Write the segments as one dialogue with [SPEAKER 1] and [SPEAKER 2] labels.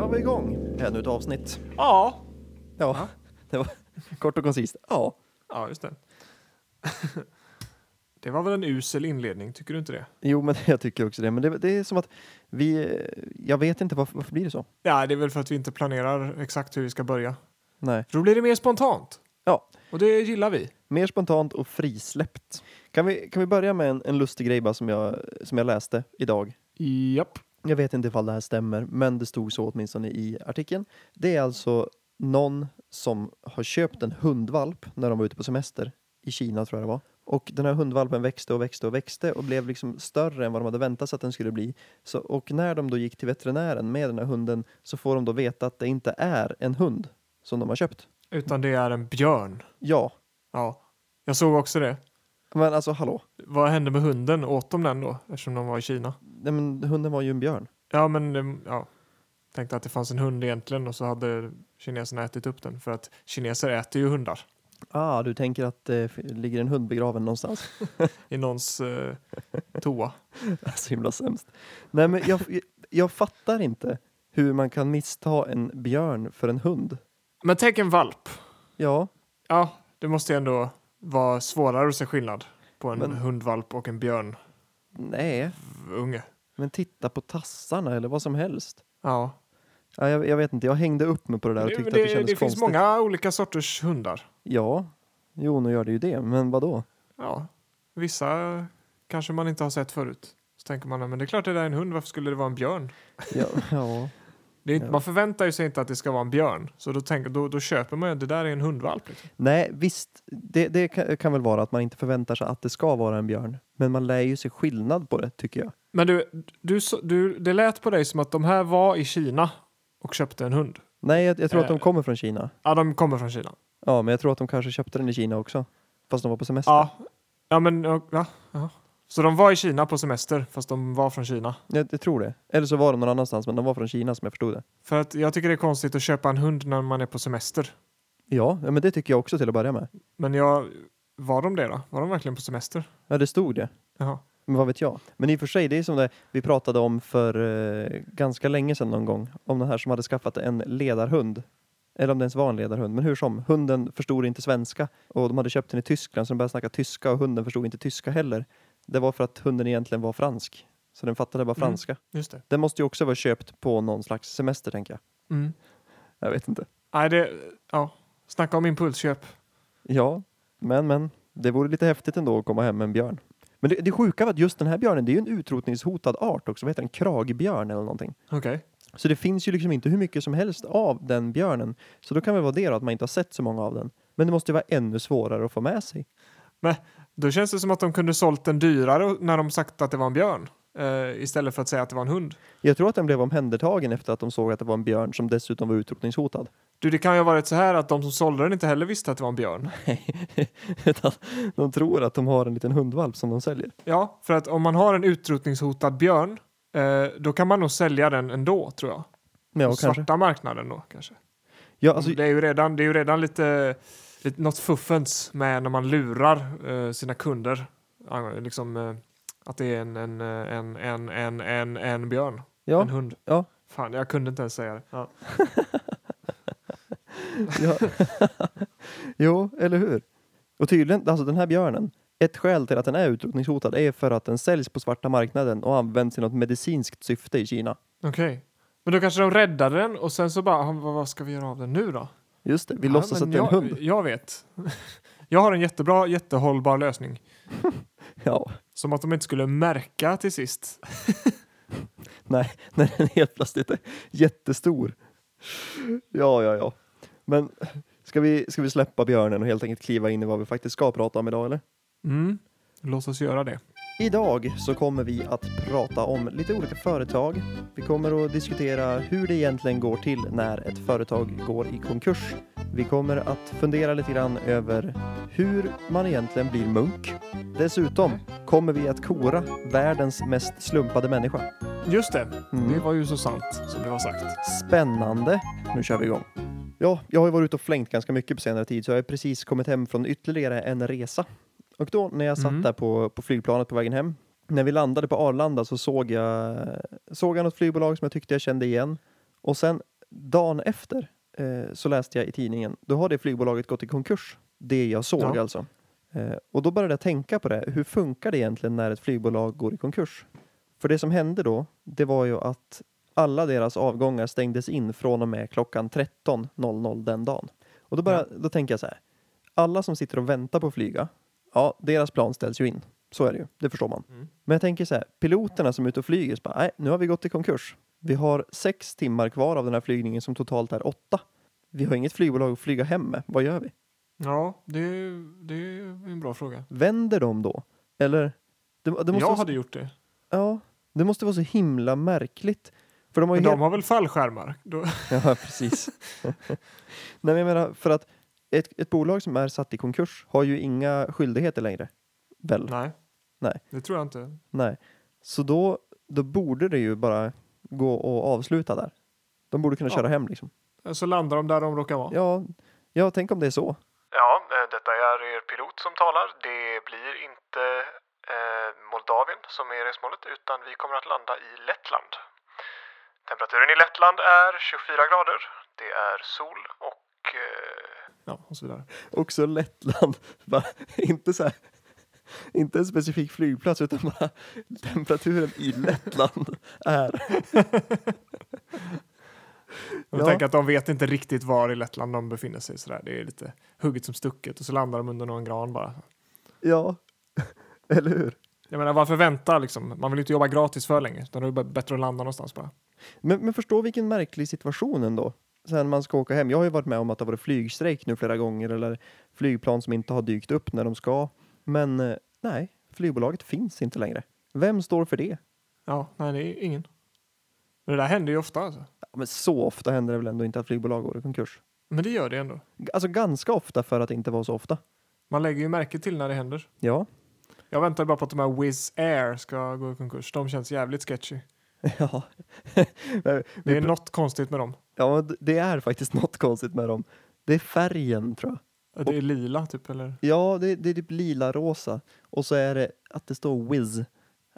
[SPEAKER 1] var vi igång. Ännu ett avsnitt.
[SPEAKER 2] Ja.
[SPEAKER 1] Ja, det var kort och koncist. Ja.
[SPEAKER 2] Ja, just det. det var väl en usel inledning, tycker du inte det?
[SPEAKER 1] Jo, men jag tycker också det. Men det, det är som att vi... Jag vet inte varför, varför blir det så.
[SPEAKER 2] Ja, det är väl för att vi inte planerar exakt hur vi ska börja.
[SPEAKER 1] Nej.
[SPEAKER 2] För då blir det mer spontant.
[SPEAKER 1] Ja.
[SPEAKER 2] Och det gillar vi.
[SPEAKER 1] Mer spontant och frisläppt. Kan vi, kan vi börja med en, en lustig grej bara som jag, som jag läste idag?
[SPEAKER 2] Japp.
[SPEAKER 1] Jag vet inte ifall det här stämmer, men det stod så åtminstone i artikeln. Det är alltså någon som har köpt en hundvalp när de var ute på semester i Kina tror jag det var. Och den här hundvalpen växte och växte och växte och blev liksom större än vad de hade väntat sig att den skulle bli. Så, och när de då gick till veterinären med den här hunden så får de då veta att det inte är en hund som de har köpt.
[SPEAKER 2] Utan det är en björn.
[SPEAKER 1] Ja,
[SPEAKER 2] Ja. Jag såg också det.
[SPEAKER 1] men alltså hallå,
[SPEAKER 2] Vad hände med hunden? Åt de den då? Eftersom de var i Kina.
[SPEAKER 1] Nej, men hunden var ju en björn.
[SPEAKER 2] Ja, men em, ja. Tänkte att det fanns en hund egentligen och så hade kineserna ätit upp den. För att kineser äter ju hundar.
[SPEAKER 1] Ah, du tänker att det f- ligger en hund begraven någonstans?
[SPEAKER 2] I någons eh, toa.
[SPEAKER 1] Så himla sämst. Nej, men jag, jag fattar inte hur man kan missta en björn för en hund.
[SPEAKER 2] Men tänk en valp.
[SPEAKER 1] Ja,
[SPEAKER 2] Ja, det måste ju ändå vara svårare att se skillnad på en
[SPEAKER 1] Men-
[SPEAKER 2] hundvalp och en björnunge.
[SPEAKER 1] nej, men titta på tassarna eller vad som helst.
[SPEAKER 2] Ja.
[SPEAKER 1] Ja, jag, jag vet inte, jag hängde upp mig på det där och
[SPEAKER 2] Det,
[SPEAKER 1] tyckte
[SPEAKER 2] det,
[SPEAKER 1] att det kändes
[SPEAKER 2] det finns
[SPEAKER 1] konstigt.
[SPEAKER 2] många olika sorters hundar.
[SPEAKER 1] Ja, jo, nu gör det ju det, men vad då?
[SPEAKER 2] Ja. Vissa kanske man inte har sett förut. Så tänker man, "Ja, men det är klart det där är en hund, varför skulle det vara en björn?
[SPEAKER 1] Ja, ja,
[SPEAKER 2] Det är inte,
[SPEAKER 1] Ja.
[SPEAKER 2] Man förväntar ju sig inte att det ska vara en björn, så då, tänker, då, då köper man ju att det där är en hundvalp. Liksom.
[SPEAKER 1] nej, visst, det, det kan, kan väl vara att man inte förväntar sig att det ska vara en björn, men man lär ju sig skillnad på det, tycker jag.
[SPEAKER 2] Men du, du, så- du, det lät på dig som att de här var i Kina och köpte en hund.
[SPEAKER 1] Nej, jag, jag tror att de
[SPEAKER 2] Eh.
[SPEAKER 1] kommer från Kina.
[SPEAKER 2] Ja, de kommer från Kina.
[SPEAKER 1] Ja, men jag tror att de kanske köpte den i Kina också, fast de var på semester.
[SPEAKER 2] Ja, ja men ja, ja. ja. Så de var i Kina på semester, fast de var från Kina.
[SPEAKER 1] Jag, jag tror det. Eller så var de någon annanstans, men de var från Kina som jag förstod det.
[SPEAKER 2] För att jag tycker det är konstigt att köpa en hund när man är på semester.
[SPEAKER 1] Ja, ja, men det tycker jag också till att börja med.
[SPEAKER 2] Men jag, var de det då? Var de verkligen på semester?
[SPEAKER 1] Ja, det stod det.
[SPEAKER 2] Jaha.
[SPEAKER 1] Men vad vet jag? Men i och för sig, det är som det vi pratade om för eh, ganska länge sedan någon gång. Om den här som hade skaffat en ledarhund. Eller om det ens var en ledarhund, men hur som. Hunden förstod inte svenska och de hade köpt den i Tyskland så de började snacka tyska och hunden förstod inte tyska heller. Det var för att hunden egentligen var fransk. Så den fattade bara
[SPEAKER 2] Mm.
[SPEAKER 1] franska.
[SPEAKER 2] Just det.
[SPEAKER 1] Den måste ju också vara köpt på någon slags semester, tänker jag.
[SPEAKER 2] Mm.
[SPEAKER 1] Jag vet inte.
[SPEAKER 2] Nej, det... Ja. Snacka om impulsköp.
[SPEAKER 1] Ja, men men. Det vore lite häftigt ändå att komma hem med en björn. Men det, det sjuka var att just den här björnen, det är ju en utrotningshotad art också. Vad heter den? Kragbjörn eller någonting.
[SPEAKER 2] Okej.
[SPEAKER 1] Så det finns ju liksom inte hur mycket som helst av den björnen. Så då kan väl vara det då, att man inte har sett så många av den. Men det måste ju vara ännu svårare att få med sig.
[SPEAKER 2] Då känns det som att de kunde sålt den dyrare när de sagt att det var en björn. Eh, istället för att säga att det var en hund.
[SPEAKER 1] Jag tror att den blev omhändertagen efter att de såg att det var en björn som dessutom var utrotningshotad.
[SPEAKER 2] Du, det kan ju ha varit så här att de som sålde den inte heller visste att det var en björn.
[SPEAKER 1] Utan de tror att de har en liten hundvalp som de säljer.
[SPEAKER 2] Ja, för att om man har en utrotningshotad björn, eh, då kan man nog sälja den ändå, tror jag.
[SPEAKER 1] Men ja,
[SPEAKER 2] På
[SPEAKER 1] kanske.
[SPEAKER 2] svarta marknaden då, kanske.
[SPEAKER 1] Ja, alltså,
[SPEAKER 2] det, är ju redan, det är ju redan lite, lite något fuffens med när man lurar eh, sina kunder. Ja, Liksom, eh, att det är en, en, eh, en, en, en, en, en björn,
[SPEAKER 1] ja,
[SPEAKER 2] en hund.
[SPEAKER 1] ja.
[SPEAKER 2] Fan, jag kunde inte ens säga det. Ja.
[SPEAKER 1] Ja. jo, eller hur? Och tydligen, alltså den här björnen, ett skäl till att den är utrotningshotad är för att den säljs på svarta marknaden och används i något medicinskt syfte i Kina.
[SPEAKER 2] Okej. Men då kanske de räddade den och sen så bara, "Ah, vad, vad ska vi göra av den nu då?
[SPEAKER 1] Just det, vi
[SPEAKER 2] Ja,
[SPEAKER 1] låtsas
[SPEAKER 2] men
[SPEAKER 1] att det är en
[SPEAKER 2] jag,
[SPEAKER 1] hund.
[SPEAKER 2] Jag vet. jag har en jättebra, jättehållbar lösning.
[SPEAKER 1] Ja,
[SPEAKER 2] Som att de inte skulle märka till sist.
[SPEAKER 1] nej, när den helt plötsligt är jättestor. Ja, ja, ja. Men ska vi, ska vi släppa björnen och helt enkelt kliva in i vad vi faktiskt ska prata om idag, eller?
[SPEAKER 2] Mm. Låt oss göra det.
[SPEAKER 1] Idag så kommer vi att prata om lite olika företag. Vi kommer att diskutera hur det egentligen går till när ett företag går i konkurs. Vi kommer att fundera lite grann över hur man egentligen blir munk. Dessutom kommer vi att kora världens mest slumpade människa.
[SPEAKER 2] Just det,
[SPEAKER 1] Mm.
[SPEAKER 2] det var ju så sant som det var sagt.
[SPEAKER 1] Spännande. Nu kör vi igång. Ja, jag har ju varit ute och flängt ganska mycket på senare tid så jag har precis kommit hem från ytterligare en resa. Och då när jag satt
[SPEAKER 2] Mm.
[SPEAKER 1] där på, på flygplanet på vägen hem, när vi landade på Arlanda så såg jag, såg jag något flygbolag som jag tyckte jag kände igen. Och sen dagen efter eh, så läste jag i tidningen, då har det flygbolaget gått i konkurs. Det jag såg
[SPEAKER 2] Ja.
[SPEAKER 1] alltså. Eh, och då började jag tänka på det, hur funkar det egentligen när ett flygbolag går i konkurs? För det som hände då, det var ju att alla deras avgångar stängdes in från och med klockan 13.00 den dagen. Och då, började, då tänker jag så här, alla som sitter och väntar på att flyga, ja, deras plan ställs ju in. Så är det ju, det förstår man.
[SPEAKER 2] Mm.
[SPEAKER 1] Men jag tänker så här, piloterna som är ute och flyger, så bara, nej, nu har vi gått i konkurs. Vi har sex timmar kvar av den här flygningen som totalt är åtta. Vi har inget flygbolag att flyga hem med, vad gör vi?
[SPEAKER 2] Ja, det, är- det är en bra fråga.
[SPEAKER 1] Vänder de då? Eller? Det, det måste
[SPEAKER 2] jag
[SPEAKER 1] vara, så-
[SPEAKER 2] hade gjort det.
[SPEAKER 1] ja, det måste vara så himla märkligt. För de har ju
[SPEAKER 2] Men de
[SPEAKER 1] helt...
[SPEAKER 2] har väl fallskärmar? Då,
[SPEAKER 1] Ja, precis. Nej, men jag menar, för att ett, ett bolag som är satt i konkurs har ju inga skyldigheter längre. Väl?
[SPEAKER 2] nej.
[SPEAKER 1] Nej.
[SPEAKER 2] det tror jag inte.
[SPEAKER 1] Nej. Så då, då borde det ju bara gå och avsluta där. De borde kunna
[SPEAKER 2] Ja.
[SPEAKER 1] köra hem liksom.
[SPEAKER 2] Så landar de där de råkar vara.
[SPEAKER 1] Ja, ja, tänk om det är så.
[SPEAKER 3] Ja, eh, detta är er pilot som talar. Det blir inte eh, Moldavien som är resmålet utan vi kommer att landa i Lettland. Temperaturen i Lettland är 24 grader. Det är sol och... Eh,
[SPEAKER 2] Ja, och så vidare.
[SPEAKER 1] Också Lettland. Va? Inte så här. Inte en specifik flygplats utan bara temperaturen i Lettland är.
[SPEAKER 2] Jag
[SPEAKER 1] Ja.
[SPEAKER 2] tänker att de vet inte riktigt var i Lettland de befinner sig. Sådär. Det är lite hugget som stucket och så landar de under någon gran bara.
[SPEAKER 1] Ja, eller hur?
[SPEAKER 2] Jag menar, varför vänta liksom? Man vill ju inte jobba gratis för länge. Utan det är bara bättre att landa någonstans bara.
[SPEAKER 1] Men, men förstå vilken märklig situation ändå. Sen man ska åka hem. Jag har ju varit med om att det har varit flygstrejk nu flera gånger eller flygplan som inte har dykt upp när de ska. Men eh, nej, flygbolaget finns inte längre. Vem står för det?
[SPEAKER 2] Ja, nej, det är ingen. Men det där händer ju ofta alltså.
[SPEAKER 1] Ja, men så ofta händer det väl ändå inte att flygbolag går i konkurs?
[SPEAKER 2] Men det gör det ändå.
[SPEAKER 1] G- Alltså ganska ofta för att inte vara så ofta.
[SPEAKER 2] Man lägger ju märke till när det händer.
[SPEAKER 1] Ja,
[SPEAKER 2] Jag väntar bara på att de här Wizz Air ska gå i konkurs. De känns jävligt sketchy.
[SPEAKER 1] ja.
[SPEAKER 2] Det är något konstigt med dem.
[SPEAKER 1] ja men d- det är faktiskt något konstigt med dem. Det är färgen tror jag.
[SPEAKER 2] Det är lila typ eller?
[SPEAKER 1] Ja, det, det är typ lila-rosa. Och så är det att det står Wiz.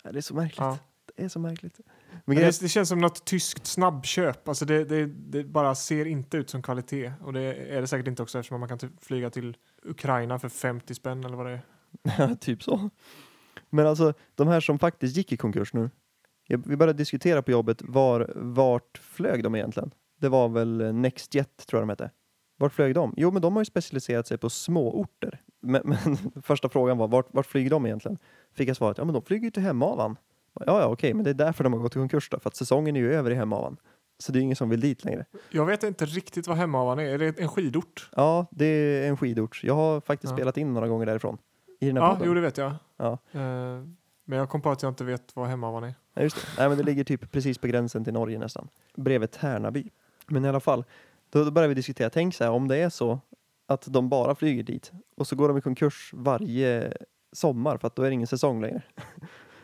[SPEAKER 1] Ja, Det är så märkligt.
[SPEAKER 2] Ja.
[SPEAKER 1] Det är så märkligt. Men
[SPEAKER 2] Men
[SPEAKER 1] grejen-
[SPEAKER 2] det, det känns som något tyskt snabbköp. Alltså det, det, det bara ser inte ut som kvalitet. Och det är det säkert inte också eftersom man kan typ flyga till Ukraina för 50 spänn eller vad det är.
[SPEAKER 1] Ja, typ så. Men alltså, de här som faktiskt gick i konkurs nu. Jag, vi började diskutera på jobbet var, vart flög de egentligen? Det var väl Nextjet, tror jag de hette. Vart flög de? Jo, men de har ju specialiserat sig på småorter. Men, men första frågan var, vart, vart flyger de egentligen? Fick jag svaret, ja men de flyger ju till Hemavan. Ja, ja, okej, men det är därför de har gått i konkurs då, för att säsongen är ju över i Hemavan. Så det är ju ingen som vill dit längre.
[SPEAKER 2] Jag vet inte riktigt vad Hemavan är. Är det en skidort?
[SPEAKER 1] Ja, det är en skidort. Jag har faktiskt
[SPEAKER 2] Ja.
[SPEAKER 1] spelat in några gånger därifrån. I den här
[SPEAKER 2] Ja,
[SPEAKER 1] podden.
[SPEAKER 2] jo det vet jag.
[SPEAKER 1] Ja.
[SPEAKER 2] Eh, Men jag kom på att jag inte vet vad Hemavan är.
[SPEAKER 1] Nej, just det. Nej, men det ligger typ precis på gränsen till Norge nästan. Bredvid Tärnaby. Men i alla fall, då, då börjar vi diskutera. Tänk så här, om det är så att de bara flyger dit och så går de i konkurs varje sommar för att då är det ingen säsong längre.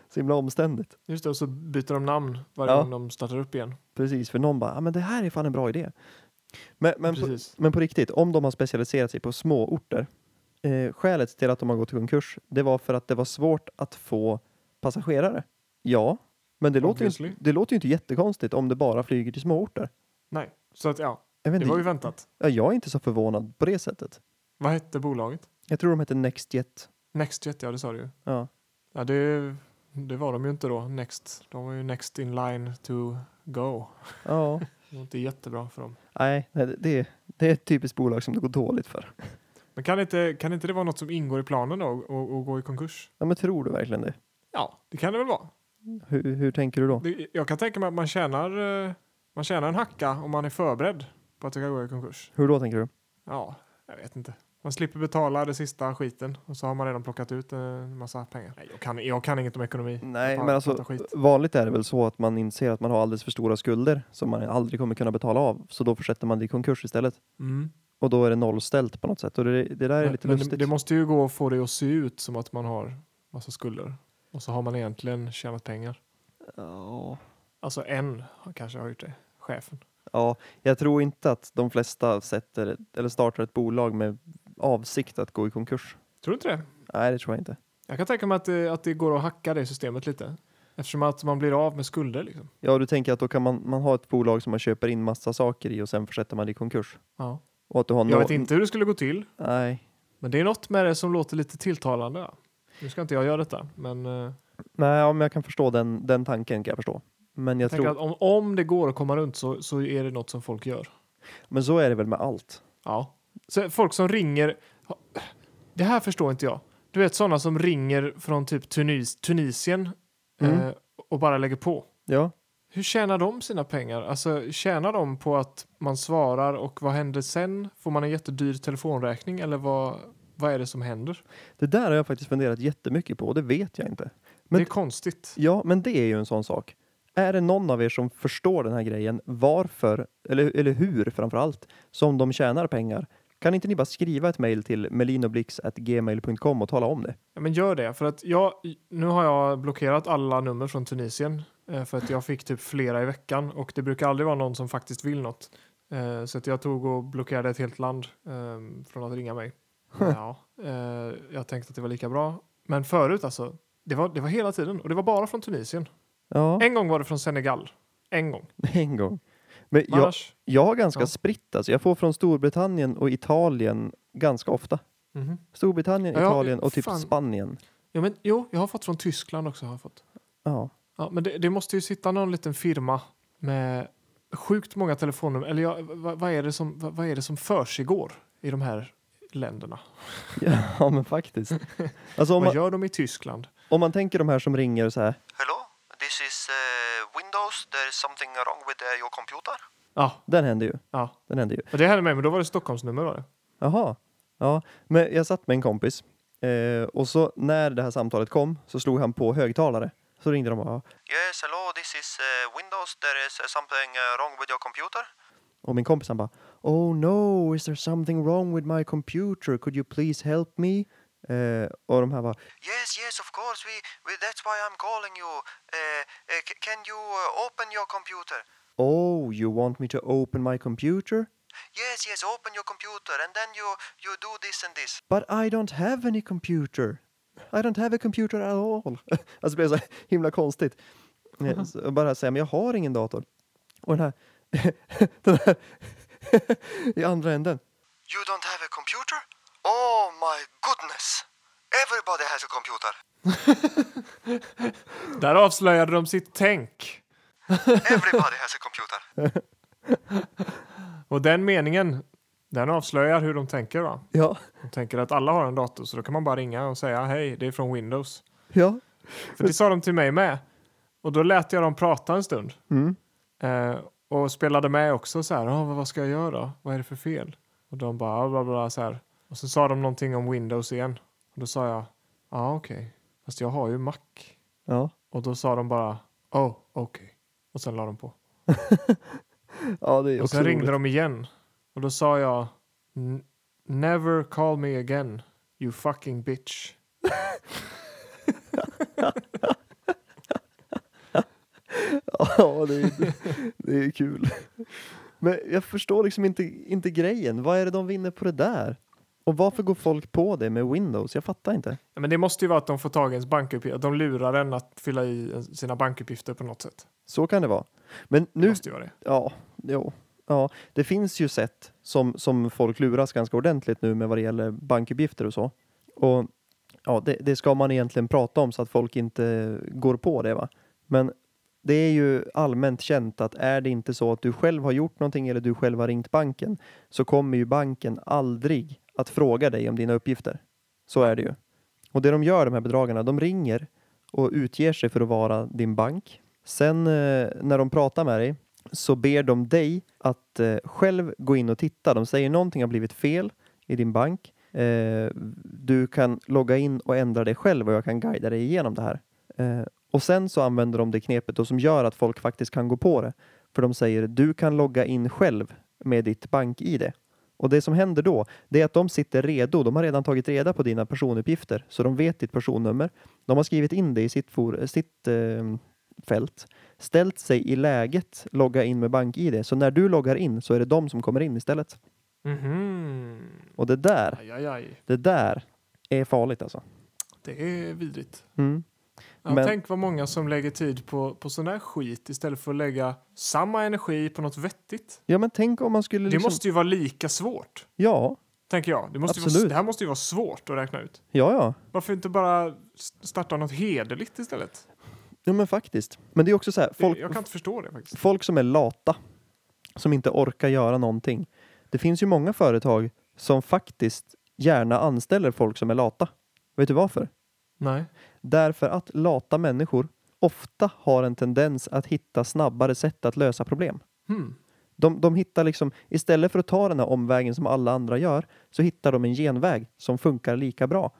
[SPEAKER 1] så himla omständigt.
[SPEAKER 2] Just det, och så byter de namn varje
[SPEAKER 1] Ja.
[SPEAKER 2] gång de startar upp igen.
[SPEAKER 1] Precis, för någon bara, ja men det här är fan en bra idé. Men, men, på,
[SPEAKER 2] Precis.
[SPEAKER 1] men på riktigt, om de har specialiserat sig på små orter. Eh, skälet till att de har gått i konkurs, det var för att det var svårt att få passagerare. Ja, men det, låter ju,
[SPEAKER 2] Obviously.
[SPEAKER 1] det låter ju inte jättekonstigt om det bara flyger till små orter.
[SPEAKER 2] Nej, så att ja,
[SPEAKER 1] Jag, vet
[SPEAKER 2] det var ju
[SPEAKER 1] inte,
[SPEAKER 2] väntat.
[SPEAKER 1] ja, jag är inte så förvånad på det sättet.
[SPEAKER 2] Vad hette bolaget?
[SPEAKER 1] Jag tror de hette Nextjet.
[SPEAKER 2] Nextjet, ja det sa du ju.
[SPEAKER 1] Ja.
[SPEAKER 2] Ja, det, det var de ju inte då, Next. De var ju next in line to go.
[SPEAKER 1] ja.
[SPEAKER 2] Det var inte jättebra för dem.
[SPEAKER 1] Nej, nej, det- det, det är ett typiskt bolag som det går dåligt för.
[SPEAKER 2] Men kan inte, kan inte det vara något som ingår i planen då, att- att gå i konkurs?
[SPEAKER 1] Ja, men tror du verkligen det?
[SPEAKER 2] Ja, det kan det väl vara.
[SPEAKER 1] Hur, hur tänker du då?
[SPEAKER 2] Det, jag kan tänka mig att man tjänar, eh, man tjänar en hacka om man är förberedd på att det kan gå i konkurs.
[SPEAKER 1] Hur då tänker du?
[SPEAKER 2] Ja, jag vet inte. Man slipper betala det sista skiten och så har man redan plockat ut en massa pengar. Nej, jag, kan, jag kan inget om ekonomi.
[SPEAKER 1] Nej,
[SPEAKER 2] Jag bara
[SPEAKER 1] men alltså
[SPEAKER 2] pratar skit.
[SPEAKER 1] vanligt är det väl så att man inser att man har alldeles för stora skulder som man aldrig kommer kunna betala av, så då försätter man det i konkurs istället.
[SPEAKER 2] Mm.
[SPEAKER 1] Och då är det nollställt på något sätt och det, det där är lite
[SPEAKER 2] Men- men
[SPEAKER 1] lustigt.
[SPEAKER 2] Det, det måste ju gå att få det att se ut som att man har massa skulder. Och så har man egentligen tjänat pengar.
[SPEAKER 1] Ja.
[SPEAKER 2] Alltså en har- kanske har gjort det. Chefen.
[SPEAKER 1] Ja, jag tror inte att de flesta sätter eller startar ett bolag med avsikt att gå i konkurs.
[SPEAKER 2] Tror du inte det?
[SPEAKER 1] Nej, det tror jag inte.
[SPEAKER 2] eh, Jag kan tänka mig att det, att det går att hacka det systemet lite. Eftersom att man blir av med skulder liksom.
[SPEAKER 1] Ja, du tänker att då kan man, man ha ett bolag som man köper in massa saker i och sen försätter man det i konkurs?
[SPEAKER 2] Ja.
[SPEAKER 1] Och att du har
[SPEAKER 2] Jag
[SPEAKER 1] nå-
[SPEAKER 2] vet inte hur det skulle gå till,
[SPEAKER 1] Nej,
[SPEAKER 2] men det är något med det som låter lite tilltalande. ja. Nu ska inte jag göra detta, men eh, jag
[SPEAKER 1] nej ja, men jag kan förstå den, den tanken. kan jag förstå. Men, jag
[SPEAKER 2] tänker
[SPEAKER 1] tror,
[SPEAKER 2] att om, om det går att komma runt så, så är det något som folk gör.
[SPEAKER 1] men så är det väl med allt?
[SPEAKER 2] Ja. Så folk som ringer, det här förstår inte jag. Du vet sådana som ringer från typ Tunis, Tunisien
[SPEAKER 1] Mm.
[SPEAKER 2] eh, och bara lägger på.
[SPEAKER 1] Ja,
[SPEAKER 2] Hur tjänar de sina pengar? Alltså tjänar de på att man svarar och vad händer sen? Får man en jättedyr telefonräkning eller vad, vad är det som händer?
[SPEAKER 1] det där har jag faktiskt funderat jättemycket på och det vet jag inte. Men-
[SPEAKER 2] det är konstigt.
[SPEAKER 1] Ja, men det är ju en sån sak. Är det någon av er som förstår den här grejen, varför, eller, eller hur framför allt, som de tjänar pengar? Kan inte ni bara skriva ett mejl till melinoblix.gmail.com och tala om det?
[SPEAKER 2] Ja, men gör det för att jag, nu har jag blockerat alla nummer från Tunisien eh, för att jag fick typ flera i veckan och det brukar aldrig vara någon som faktiskt vill något. Eh, Så att jag tog och blockerade ett helt land eh, från att ringa mig. Ja, eh, jag tänkte att det var lika bra. Men förut alltså, det var, det var hela tiden och det var bara från Tunisien.
[SPEAKER 1] Ja,
[SPEAKER 2] En gång var det från Senegal. En gång.
[SPEAKER 1] en gång. Men
[SPEAKER 2] Men
[SPEAKER 1] jag,
[SPEAKER 2] Annars?
[SPEAKER 1] jag har ganska
[SPEAKER 2] Ja.
[SPEAKER 1] spritt alltså. Jag får från Storbritannien och Italien ganska ofta.
[SPEAKER 2] Mhm.
[SPEAKER 1] Storbritannien,
[SPEAKER 2] Ja,
[SPEAKER 1] Italien och typ
[SPEAKER 2] fan.
[SPEAKER 1] Spanien.
[SPEAKER 2] Ja, men, jo, jag har fått från Tyskland också. Har jag fått.
[SPEAKER 1] Ja.
[SPEAKER 2] Ja, men det, det måste ju sitta någon liten firma med sjukt många telefonnummer. Eller ja, vad, vad, är det som, vad, vad är det som försiggår i de här länderna?
[SPEAKER 1] ja, men faktiskt. Alltså om man,
[SPEAKER 2] Vad gör de i Tyskland?
[SPEAKER 1] om man tänker de här som ringer så här.
[SPEAKER 4] Hello, this is uh, Windows. There is something wrong with uh, your computer.
[SPEAKER 2] Ja,
[SPEAKER 1] Den händer ju.
[SPEAKER 2] ja.
[SPEAKER 1] Den händer ju.
[SPEAKER 2] Och det hände mig, men då var det Stockholmsnummer. Var det?
[SPEAKER 1] Jaha. Ja, men jag satt med en kompis eh, och så när det här samtalet kom så slog han på högtalare. Så ringde de och bara,
[SPEAKER 4] Yes, hello, this is uh, Windows. There is uh, something uh, wrong with your computer.
[SPEAKER 1] och min kompis han bara Oh no, is there something wrong with my computer? Could you please help me? Eh, och de här bara
[SPEAKER 4] Yes, yes, of course. We, we that's why I'm calling you. Uh, uh, c- can you uh, open your computer?
[SPEAKER 1] Oh, you want me to open my computer?
[SPEAKER 4] Yes, yes, open your computer, and then you you do this and this.
[SPEAKER 1] But I don't have any computer. I don't have a computer at all. alltså det blev så här himla konstigt.
[SPEAKER 4] Mm-hmm.
[SPEAKER 1] Eh, så Bara säga, men jag har ingen dator. Och den här, den här i andra änden.
[SPEAKER 4] You don't have a computer? Oh my goodness! Everybody has a computer.
[SPEAKER 2] Där avslöjade de sitt tänk.
[SPEAKER 4] Everybody has a computer.
[SPEAKER 2] Och den meningen, den avslöjar hur de tänker. Va?
[SPEAKER 1] Ja,
[SPEAKER 2] De tänker att alla har en dator, så då kan man bara ringa och säga hej, det är från Windows.
[SPEAKER 1] ja.
[SPEAKER 2] För det sa de till mig med. Och då lät jag dem prata en stund.
[SPEAKER 1] Mm.
[SPEAKER 2] Eh, och spelade med också så här, "Ah, vad- vad ska jag göra? Vad är det för fel? Och de bara, "Ah, bla bla bla, så här. Och så sa de någonting om Windows igen. Och då sa jag, ja ah, okej, fast jag har ju Mac.
[SPEAKER 1] Ja.
[SPEAKER 2] Och då sa de bara, oh okej. Och sen la de på.
[SPEAKER 1] ja, det är
[SPEAKER 2] Och
[SPEAKER 1] också
[SPEAKER 2] sen ringde
[SPEAKER 1] roligt.
[SPEAKER 2] de igen. Och då sa jag, "N- never call me again, you fucking bitch.
[SPEAKER 1] Ja, det är, det är kul. Men jag förstår liksom inte, inte grejen. Vad är det de vinner på det där? Och varför går folk på det med Windows? Jag fattar inte.
[SPEAKER 2] Ja, men det måste ju vara att de får tag i ens bankuppgifter, att de lurar en att fylla i sina bankuppgifter på något sätt.
[SPEAKER 1] Så kan det vara. Men
[SPEAKER 2] Det
[SPEAKER 1] nu,
[SPEAKER 2] måste ju vara det.
[SPEAKER 1] ja, jo, ja, det finns ju sätt som, som folk luras ganska ordentligt nu med vad det gäller bankuppgifter och så. Och ja, det, det ska man egentligen prata om så att folk inte går på det va. Men det är ju allmänt känt att är det inte så att du själv har gjort någonting eller du själv har ringt banken så kommer ju banken aldrig att fråga dig om dina uppgifter. Så är det ju. Och det de gör, de här bedragarna, de ringer och utger sig för att vara din bank. Sen eh, när de pratar med dig så ber de dig att eh, själv gå in och titta. De säger någonting har blivit fel i din bank. Eh, du kan logga in och ändra dig själv och jag kan guida dig igenom det här. Eh, och sen så använder de det knepet då som gör att folk faktiskt kan gå på det. För de säger du kan logga in själv med ditt bank-id. Och det som händer då, det är att de sitter redo. De har redan tagit reda på dina personuppgifter, så de vet ditt personnummer. De har skrivit in det i sitt, for, sitt eh, fält, ställt sig i läget logga in med bank-id. Så när du loggar in så är det de som kommer in istället.
[SPEAKER 2] Mhm.
[SPEAKER 1] Och det där,
[SPEAKER 2] Aj, aj, aj.
[SPEAKER 1] det där är farligt alltså.
[SPEAKER 2] Det är vidrigt.
[SPEAKER 1] Mm.
[SPEAKER 2] Ja,
[SPEAKER 1] Men-
[SPEAKER 2] Tänk vad många som lägger tid på, på sån här skit istället för att lägga samma energi på något vettigt.
[SPEAKER 1] Ja, men tänk om man skulle...
[SPEAKER 2] Det
[SPEAKER 1] Liksom,
[SPEAKER 2] måste ju vara lika svårt,
[SPEAKER 1] Ja,
[SPEAKER 2] tänker jag. Det, måste ju vara,
[SPEAKER 1] Absolut.
[SPEAKER 2] det här måste ju vara svårt att räkna ut.
[SPEAKER 1] ja, ja.
[SPEAKER 2] Varför inte bara s- starta något hederligt istället?
[SPEAKER 1] Ja, men faktiskt. Men det är också så här,
[SPEAKER 2] Det-
[SPEAKER 1] folk,
[SPEAKER 2] Jag kan inte förstå det faktiskt.
[SPEAKER 1] folk som är lata, som inte orkar göra någonting. Det finns ju många företag som faktiskt gärna anställer folk som är lata. Vet du varför?
[SPEAKER 2] Nej.
[SPEAKER 1] Därför att lata människor ofta har en tendens att hitta snabbare sätt att lösa problem.
[SPEAKER 2] Hmm.
[SPEAKER 1] De, de hittar liksom, istället för att ta den här omvägen som alla andra gör, så hittar de en genväg som funkar lika bra.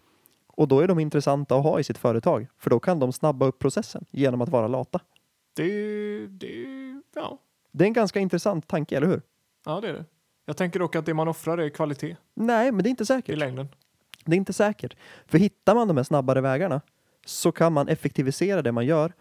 [SPEAKER 1] Och då är de intressanta att ha i sitt företag, för då kan de snabba upp processen genom att vara lata.
[SPEAKER 2] Det, det, ja.
[SPEAKER 1] Det är en ganska intressant tanke, eller hur?
[SPEAKER 2] ja, det är det. Jag tänker dock att det man offrar är kvalitet
[SPEAKER 1] Nej, men det är inte
[SPEAKER 2] i
[SPEAKER 1] säkert.
[SPEAKER 2] längden.
[SPEAKER 1] Det är inte säkert. För hittar man de här snabbare vägarna så kan man effektivisera det man gör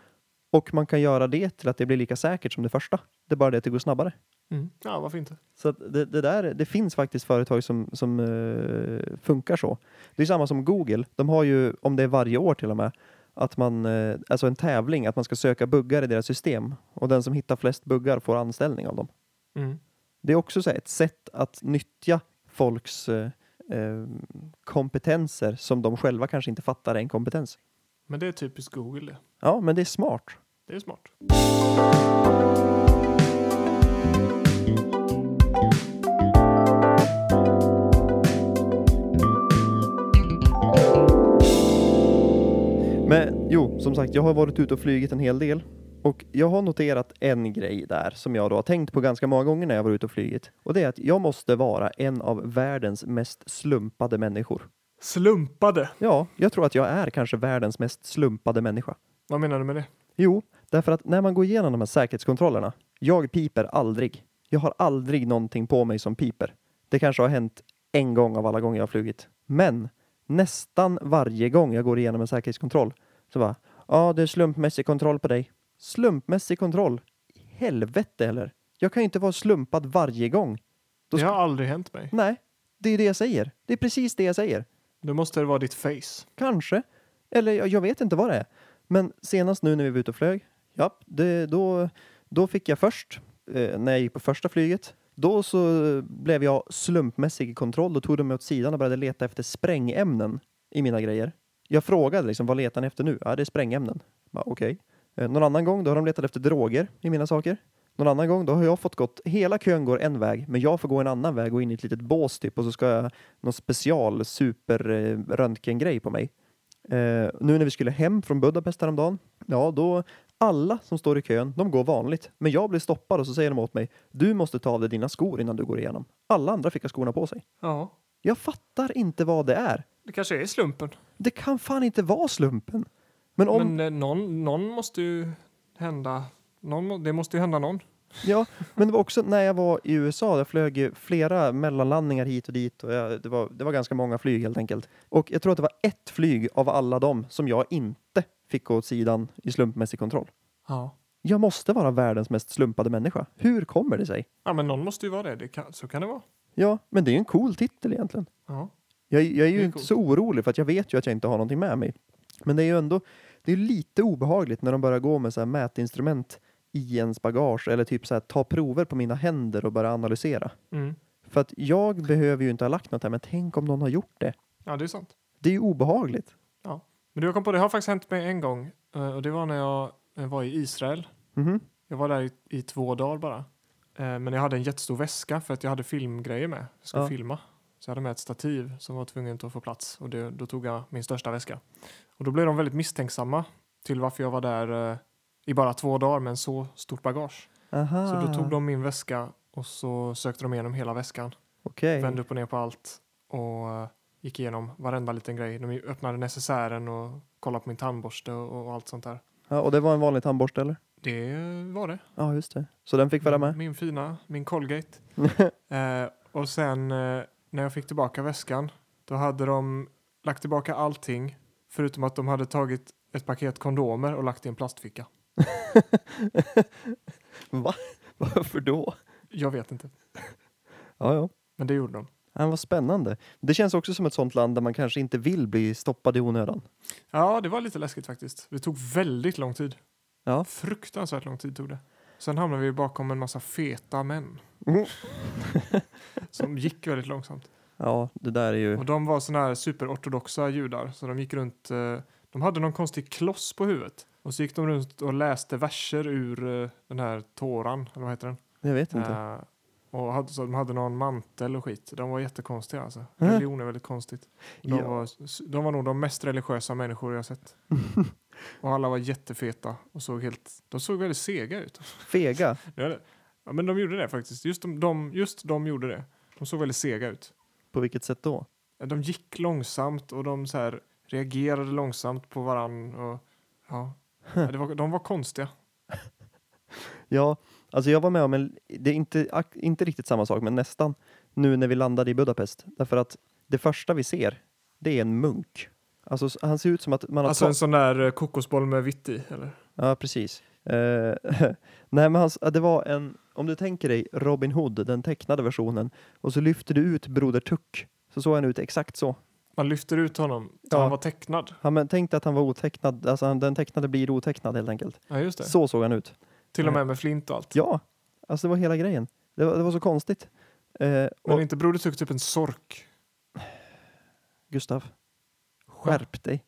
[SPEAKER 1] och man kan göra det till att det blir lika säkert som det första. Det är bara det att det går snabbare.
[SPEAKER 2] Mm. Ja, varför inte?
[SPEAKER 1] Så att det, det, där, det finns faktiskt företag som, som eh, funkar så. Det är samma som Google. De har ju, om det är varje år till och med, att man, eh, alltså en tävling att man ska söka buggar i deras system och den som hittar flest buggar får anställning av dem.
[SPEAKER 2] Mm.
[SPEAKER 1] Det är också så här ett sätt att nyttja folks eh, eh, kompetenser som de själva kanske inte fattar är en kompetens.
[SPEAKER 2] Men det är typiskt Google det.
[SPEAKER 1] Ja, men det är smart.
[SPEAKER 2] Det är smart.
[SPEAKER 1] Men jo, som sagt, jag har varit ute och flugit en hel del och jag har noterat en grej där som jag då har tänkt på ganska många gånger när jag var ute och flugit och det är att jag måste vara en av världens mest slumpade människor.
[SPEAKER 2] Slumpade.
[SPEAKER 1] Ja, jag tror att jag är kanske världens mest slumpade människa.
[SPEAKER 2] Vad menar du med det?
[SPEAKER 1] Jo, därför att när man går igenom de här säkerhetskontrollerna, jag piper aldrig. Jag har aldrig någonting på mig som piper. Det kanske har hänt en gång av alla gånger jag har flugit. Men nästan varje gång jag går igenom en säkerhetskontroll så bara, ja det är slumpmässig kontroll på dig. Slumpmässig kontroll? Helvete eller? Jag kan ju inte vara slumpad varje gång. Då
[SPEAKER 2] Det
[SPEAKER 1] ska-
[SPEAKER 2] har aldrig hänt mig.
[SPEAKER 1] Nej, det är det jag säger. Det är precis det jag säger.
[SPEAKER 2] Då måste det vara ditt face.
[SPEAKER 1] Kanske. Eller jag, jag vet inte vad det är. Men senast nu när vi var ute och flög, ja, det, då, då fick jag först, eh, när jag gick på första flyget, då så blev jag slumpmässig i kontroll. Då tog de mig åt sidan och började leta efter sprängämnen i mina grejer. Jag frågade liksom, vad letar ni efter nu? Ja, det är sprängämnen. Bara, Okej. Eh, någon annan gång, då har de letat efter droger i mina saker. Någon annan gång, då har jag fått gått, hela kön går en väg, men jag får gå en annan väg och in i ett litet bås typ och så ska jag någon special super eh, röntgengrej på mig. Eh, nu när vi skulle hem från Budapest häromdagen, ja då alla som står i kön, de går vanligt. Men jag blir stoppad och så säger de åt mig, du måste ta av dig dina skor innan du går igenom. Alla andra fick ha skorna på sig.
[SPEAKER 2] Ja.
[SPEAKER 1] Jag fattar inte vad det är.
[SPEAKER 2] Det kanske är slumpen.
[SPEAKER 1] Det kan fan inte vara slumpen. Men om,
[SPEAKER 2] Men eh, någon, någon måste ju hända. Någon, må- det måste ju hända någon.
[SPEAKER 1] Ja, men det var också när jag var i USA, jag flög ju flera mellanlandningar hit och dit och jag, det, var, det var ganska många flyg helt enkelt. Och jag tror att det var ett flyg av alla dem som jag inte fick gå åt sidan i slumpmässig kontroll.
[SPEAKER 2] Ja.
[SPEAKER 1] Jag måste vara världens mest slumpade människa. Hur kommer det sig?
[SPEAKER 2] Ja, men någon måste ju vara det. det kan, så kan det vara.
[SPEAKER 1] Ja, men det är ju en cool titel egentligen.
[SPEAKER 2] Ja.
[SPEAKER 1] Jag, jag är ju
[SPEAKER 2] Det är
[SPEAKER 1] inte
[SPEAKER 2] coolt.
[SPEAKER 1] så orolig för att jag vet ju att jag inte har någonting med mig. Men det är ju ändå det är ju lite obehagligt när de börjar gå med så här mätinstrument i ens bagage eller typ så här ta prover på mina händer och börja analysera.
[SPEAKER 2] Mm.
[SPEAKER 1] För att jag behöver ju inte ha lagt något här, men tänk om någon har gjort det.
[SPEAKER 2] ja, det är sant.
[SPEAKER 1] Det är ju obehagligt.
[SPEAKER 2] Men du, jag kom på det har faktiskt hänt mig en gång. Eh, Och det var när jag eh, var i Israel.
[SPEAKER 1] Mhm.
[SPEAKER 2] Jag var där i, i två dagar bara. Eh, Men jag hade en jättestor väska för att jag hade filmgrejer med. Jag skulle
[SPEAKER 1] Ja.
[SPEAKER 2] filma. Så jag hade med ett stativ som var tvungen att få plats. Och det, då tog jag min största väska. Och då blev de väldigt misstänksamma till varför jag var där eh, i bara två dagar med en så stort bagage.
[SPEAKER 1] Aha.
[SPEAKER 2] Så då tog de min väska och så sökte de igenom hela väskan.
[SPEAKER 1] Okej.
[SPEAKER 2] Vände upp och ner på allt och eh, gick igenom varenda liten grej. De öppnade necessären och kollade på min tandborste och, och allt sånt där.
[SPEAKER 1] Ja, och det var en vanlig tandborste eller?
[SPEAKER 2] Det var det.
[SPEAKER 1] Ja, just det. Så den fick vara med?
[SPEAKER 2] Min fina, min Colgate. eh, och sen eh, när jag fick tillbaka väskan, då hade de lagt tillbaka allting förutom att de hade tagit ett paket kondomer och lagt i en plastficka.
[SPEAKER 1] Va? Varför då?
[SPEAKER 2] Jag vet inte,
[SPEAKER 1] Ja, ja.
[SPEAKER 2] men det gjorde de.
[SPEAKER 1] Ja, vad spännande. Det känns också som ett sånt land där man kanske inte vill bli stoppad i onödan.
[SPEAKER 2] Ja, det var lite läskigt faktiskt. Det tog väldigt lång tid.
[SPEAKER 1] Ja.
[SPEAKER 2] Fruktansvärt lång tid tog det. Sen hamnade vi bakom en massa feta män.
[SPEAKER 1] Mm.
[SPEAKER 2] som gick väldigt långsamt.
[SPEAKER 1] Ja, det där är ju...
[SPEAKER 2] Och de var såna här superortodoxa judar. Så de gick runt, eh, de hade någon konstig kloss på huvudet. Och så gick de runt och läste verser ur eh, den här Toran, eller vad heter den?
[SPEAKER 1] Jag vet inte.
[SPEAKER 2] Eh, och hade, så de hade någon mantel och skit. De var jättekonstiga alltså.
[SPEAKER 1] Mm.
[SPEAKER 2] Religion är väldigt konstigt. De,
[SPEAKER 1] Ja.
[SPEAKER 2] var, de var nog de mest religiösa människor jag sett. och alla var jättefeta och såg helt, de såg väldigt sega ut.
[SPEAKER 1] Fega.
[SPEAKER 2] Ja, det- ja, men de gjorde det faktiskt. Just de, de, just de gjorde det. De såg väldigt sega ut.
[SPEAKER 1] På vilket sätt då?
[SPEAKER 2] De gick långsamt och de så här reagerade långsamt på varann. Och, ja. Ja, det var, de var konstiga.
[SPEAKER 1] Ja, alltså jag var med om en, det är inte, ak- inte riktigt samma sak, men nästan, nu när vi landade i Budapest. Därför att det första vi ser, det är en munk. Alltså s- han ser ut som att man har...
[SPEAKER 2] Alltså en
[SPEAKER 1] tagit-
[SPEAKER 2] sån där eh, kokosboll med vitt i. Eller?
[SPEAKER 1] Ja, precis. Eh, nej, men han, s- det var en, om du tänker dig Robin Hood, den tecknade versionen, och så lyfter du ut Broder Tuck, så såg han ut exakt så.
[SPEAKER 2] Man lyfter ut honom. Så
[SPEAKER 1] Ja.
[SPEAKER 2] Han var tecknad.
[SPEAKER 1] Han men, tänkte att han var otecknad, alltså han, den tecknade blir otecknad helt enkelt.
[SPEAKER 2] Ja, just det.
[SPEAKER 1] Så såg han ut.
[SPEAKER 2] Till och med med flint och allt.
[SPEAKER 1] Ja, alltså det var hela grejen. Det var, det var så konstigt. Eh,
[SPEAKER 2] Men
[SPEAKER 1] och
[SPEAKER 2] inte Broder Tuck typ en sork?
[SPEAKER 1] Gustav, skärp dig.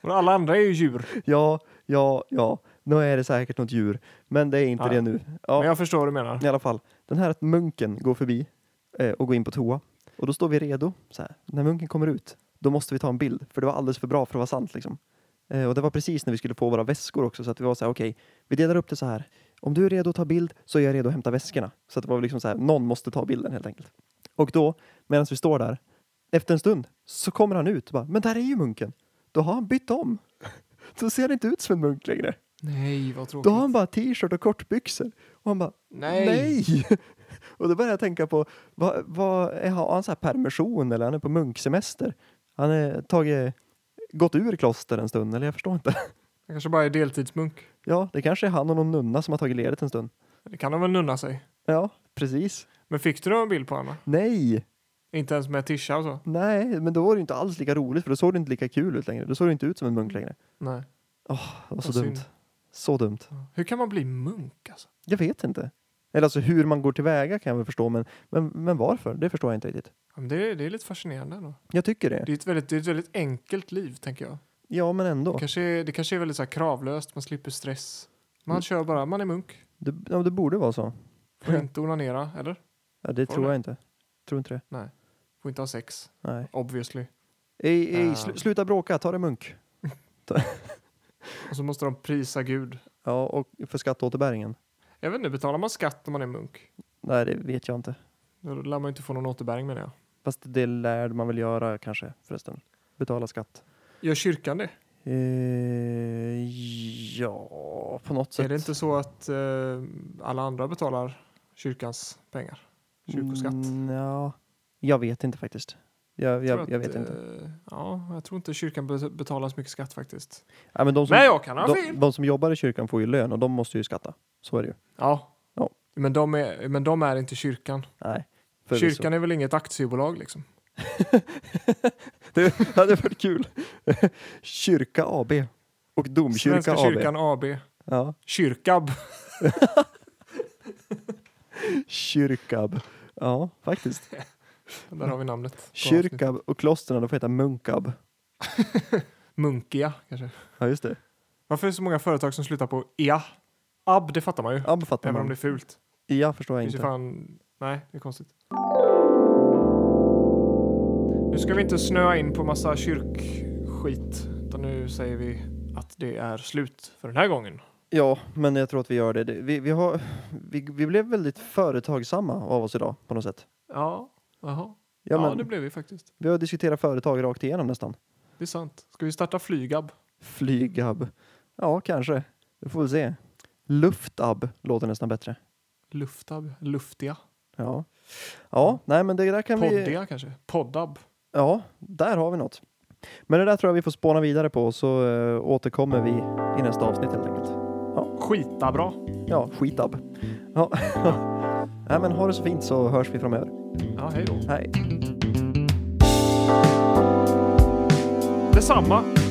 [SPEAKER 2] Och alla andra är ju djur.
[SPEAKER 1] Ja, ja, ja. Nu är det säkert något djur, men det är inte
[SPEAKER 2] Ja.
[SPEAKER 1] det nu.
[SPEAKER 2] Men
[SPEAKER 1] Ja,
[SPEAKER 2] jag förstår vad du menar.
[SPEAKER 1] I alla fall, den här att munken går förbi eh, och går in på toa. Och då står vi redo. Så här. När munken kommer ut, då måste vi ta en bild, för det var alldeles för bra för att vara sant. Liksom. Eh, och det var precis när vi skulle få våra väskor också, så att vi var så här, okej, vi delar upp det så här. Om du är redo att ta bild så är jag redo att hämta väskorna. Så att det var liksom så här, någon måste ta bilden helt enkelt. Och då, medan vi står där, efter en stund så kommer han ut och bara, men där är ju munken. Då har han bytt om. Då ser han inte ut som en munk längre.
[SPEAKER 2] Nej, vad
[SPEAKER 1] Då
[SPEAKER 2] tråkigt.
[SPEAKER 1] har han bara t-shirt och kortbyxor. Och han bara,
[SPEAKER 2] Nej.
[SPEAKER 1] Och då började jag tänka på, vad, vad, är, har han så här permission eller han är på munksemester? Han är tagit, gått ur kloster en stund eller jag förstår inte.
[SPEAKER 2] Han kanske bara är deltidsmunk.
[SPEAKER 1] Ja, det kanske är han och någon nunna som har tagit ledigt en stund.
[SPEAKER 2] Det kan de väl nunna sig.
[SPEAKER 1] Ja, precis.
[SPEAKER 2] Men fick du någon bild på honom?
[SPEAKER 1] Nej,
[SPEAKER 2] Inte ens med tisha och så?
[SPEAKER 1] nej, men då var det inte alls lika roligt för då såg det inte lika kul ut längre. Då såg det inte ut som en munk längre.
[SPEAKER 2] Nej.
[SPEAKER 1] Det var så
[SPEAKER 2] Vad synd.
[SPEAKER 1] dumt. Så dumt.
[SPEAKER 2] Hur kan man bli munk alltså?
[SPEAKER 1] Jag vet inte. Eller alltså hur man går tillväga kan jag väl förstå, men, men, men varför? Det förstår jag inte riktigt.
[SPEAKER 2] Ja, men det, är, det är lite fascinerande ändå.
[SPEAKER 1] Jag tycker det.
[SPEAKER 2] Det är ett väldigt, det är ett väldigt enkelt liv, tänker jag.
[SPEAKER 1] Ja, men ändå.
[SPEAKER 2] Det kanske är, det kanske är väldigt så här kravlöst, man slipper stress. Man
[SPEAKER 1] Mm.
[SPEAKER 2] kör bara, man är munk.
[SPEAKER 1] Det, ja, det borde vara så.
[SPEAKER 2] Får inte onanera, eller?
[SPEAKER 1] Ja, det
[SPEAKER 2] Får
[SPEAKER 1] tror
[SPEAKER 2] det?
[SPEAKER 1] jag inte. Tror inte det.
[SPEAKER 2] Får inte ha sex,
[SPEAKER 1] Nej.
[SPEAKER 2] obviously.
[SPEAKER 1] Ej, ej, sl-
[SPEAKER 2] Ah.
[SPEAKER 1] sluta bråka, ta det munk.
[SPEAKER 2] Och så måste de prisa Gud.
[SPEAKER 1] Ja, och för skatteåterbäringen.
[SPEAKER 2] Jag vet inte, betalar man skatt om man är munk?
[SPEAKER 1] Nej, det vet jag inte.
[SPEAKER 2] Då lär man ju inte få någon återbäring menar jag.
[SPEAKER 1] Fast det lär man väl göra kanske förresten. Betala skatt.
[SPEAKER 2] Gör kyrkan det?
[SPEAKER 1] Eh, ja, på något sätt.
[SPEAKER 2] Är det inte så att eh, alla andra betalar kyrkans pengar? Kyrkoskatt?
[SPEAKER 1] Mm, ja, jag vet inte faktiskt. Jag,
[SPEAKER 2] tror
[SPEAKER 1] jag, jag
[SPEAKER 2] att,
[SPEAKER 1] vet inte.
[SPEAKER 2] eh, Ja, jag tror inte kyrkan be- betalar så mycket skatt faktiskt.
[SPEAKER 1] Ja, men de som,
[SPEAKER 2] Men jag kan ha fel!
[SPEAKER 1] de, de som jobbar i kyrkan får ju lön och de måste ju skatta. Så är det ju.
[SPEAKER 2] Ja.
[SPEAKER 1] Ja.
[SPEAKER 2] Men, de är, men de är inte kyrkan.
[SPEAKER 1] Nej. förvisso.
[SPEAKER 2] kyrkan är väl inget aktiebolag liksom?
[SPEAKER 1] Det hade varit kul. Kyrka AB. Och Domkyrka
[SPEAKER 2] Svenska
[SPEAKER 1] AB.
[SPEAKER 2] kyrkan AB.
[SPEAKER 1] Ja.
[SPEAKER 2] Kyrkab.
[SPEAKER 1] Kyrkab. Ja, faktiskt.
[SPEAKER 2] Där har vi namnet. på avsnittet.
[SPEAKER 1] Kyrkab och klostren, de får heta munkab.
[SPEAKER 2] Munkia kanske.
[SPEAKER 1] Ja, just det.
[SPEAKER 2] Varför är det så många företag som slutar på ea? Ab, det fattar man ju.
[SPEAKER 1] Ab fattar
[SPEAKER 2] Även om
[SPEAKER 1] man.
[SPEAKER 2] det är fult.
[SPEAKER 1] Ja, förstår jag
[SPEAKER 2] Det är ju
[SPEAKER 1] inte.
[SPEAKER 2] fan... Nej, det är konstigt. Nu ska vi inte snöa in på massa kyrkskit. Utan nu säger vi att det är slut för den här gången.
[SPEAKER 1] Ja, men jag tror att vi gör det. Det- Vi, vi, har, vi, vi blev väldigt företagsamma av oss idag på något sätt.
[SPEAKER 2] Ja, jaha.
[SPEAKER 1] Ja,
[SPEAKER 2] ja
[SPEAKER 1] men,
[SPEAKER 2] det blev vi faktiskt.
[SPEAKER 1] Vi har diskuterat företag rakt igenom nästan.
[SPEAKER 2] Det är sant. Ska vi starta Flygab?
[SPEAKER 1] Flygab. Ja, kanske. Vi får väl se. Luftab låter nästan bättre.
[SPEAKER 2] Luftab? Luftiga?
[SPEAKER 1] Ja. Ja, nej men det där kan vi...
[SPEAKER 2] Poddiga kanske? Poddab?
[SPEAKER 1] Ja, där har vi något. Men det där tror jag vi får spåna vidare på så eh, återkommer vi i nästa avsnitt helt enkelt.
[SPEAKER 2] Skitabra!
[SPEAKER 1] Ja, skitab. Ja. Nej, men ha det så fint så hörs vi framöver.
[SPEAKER 2] Ja, hej då.
[SPEAKER 1] Hej.
[SPEAKER 2] Detsamma!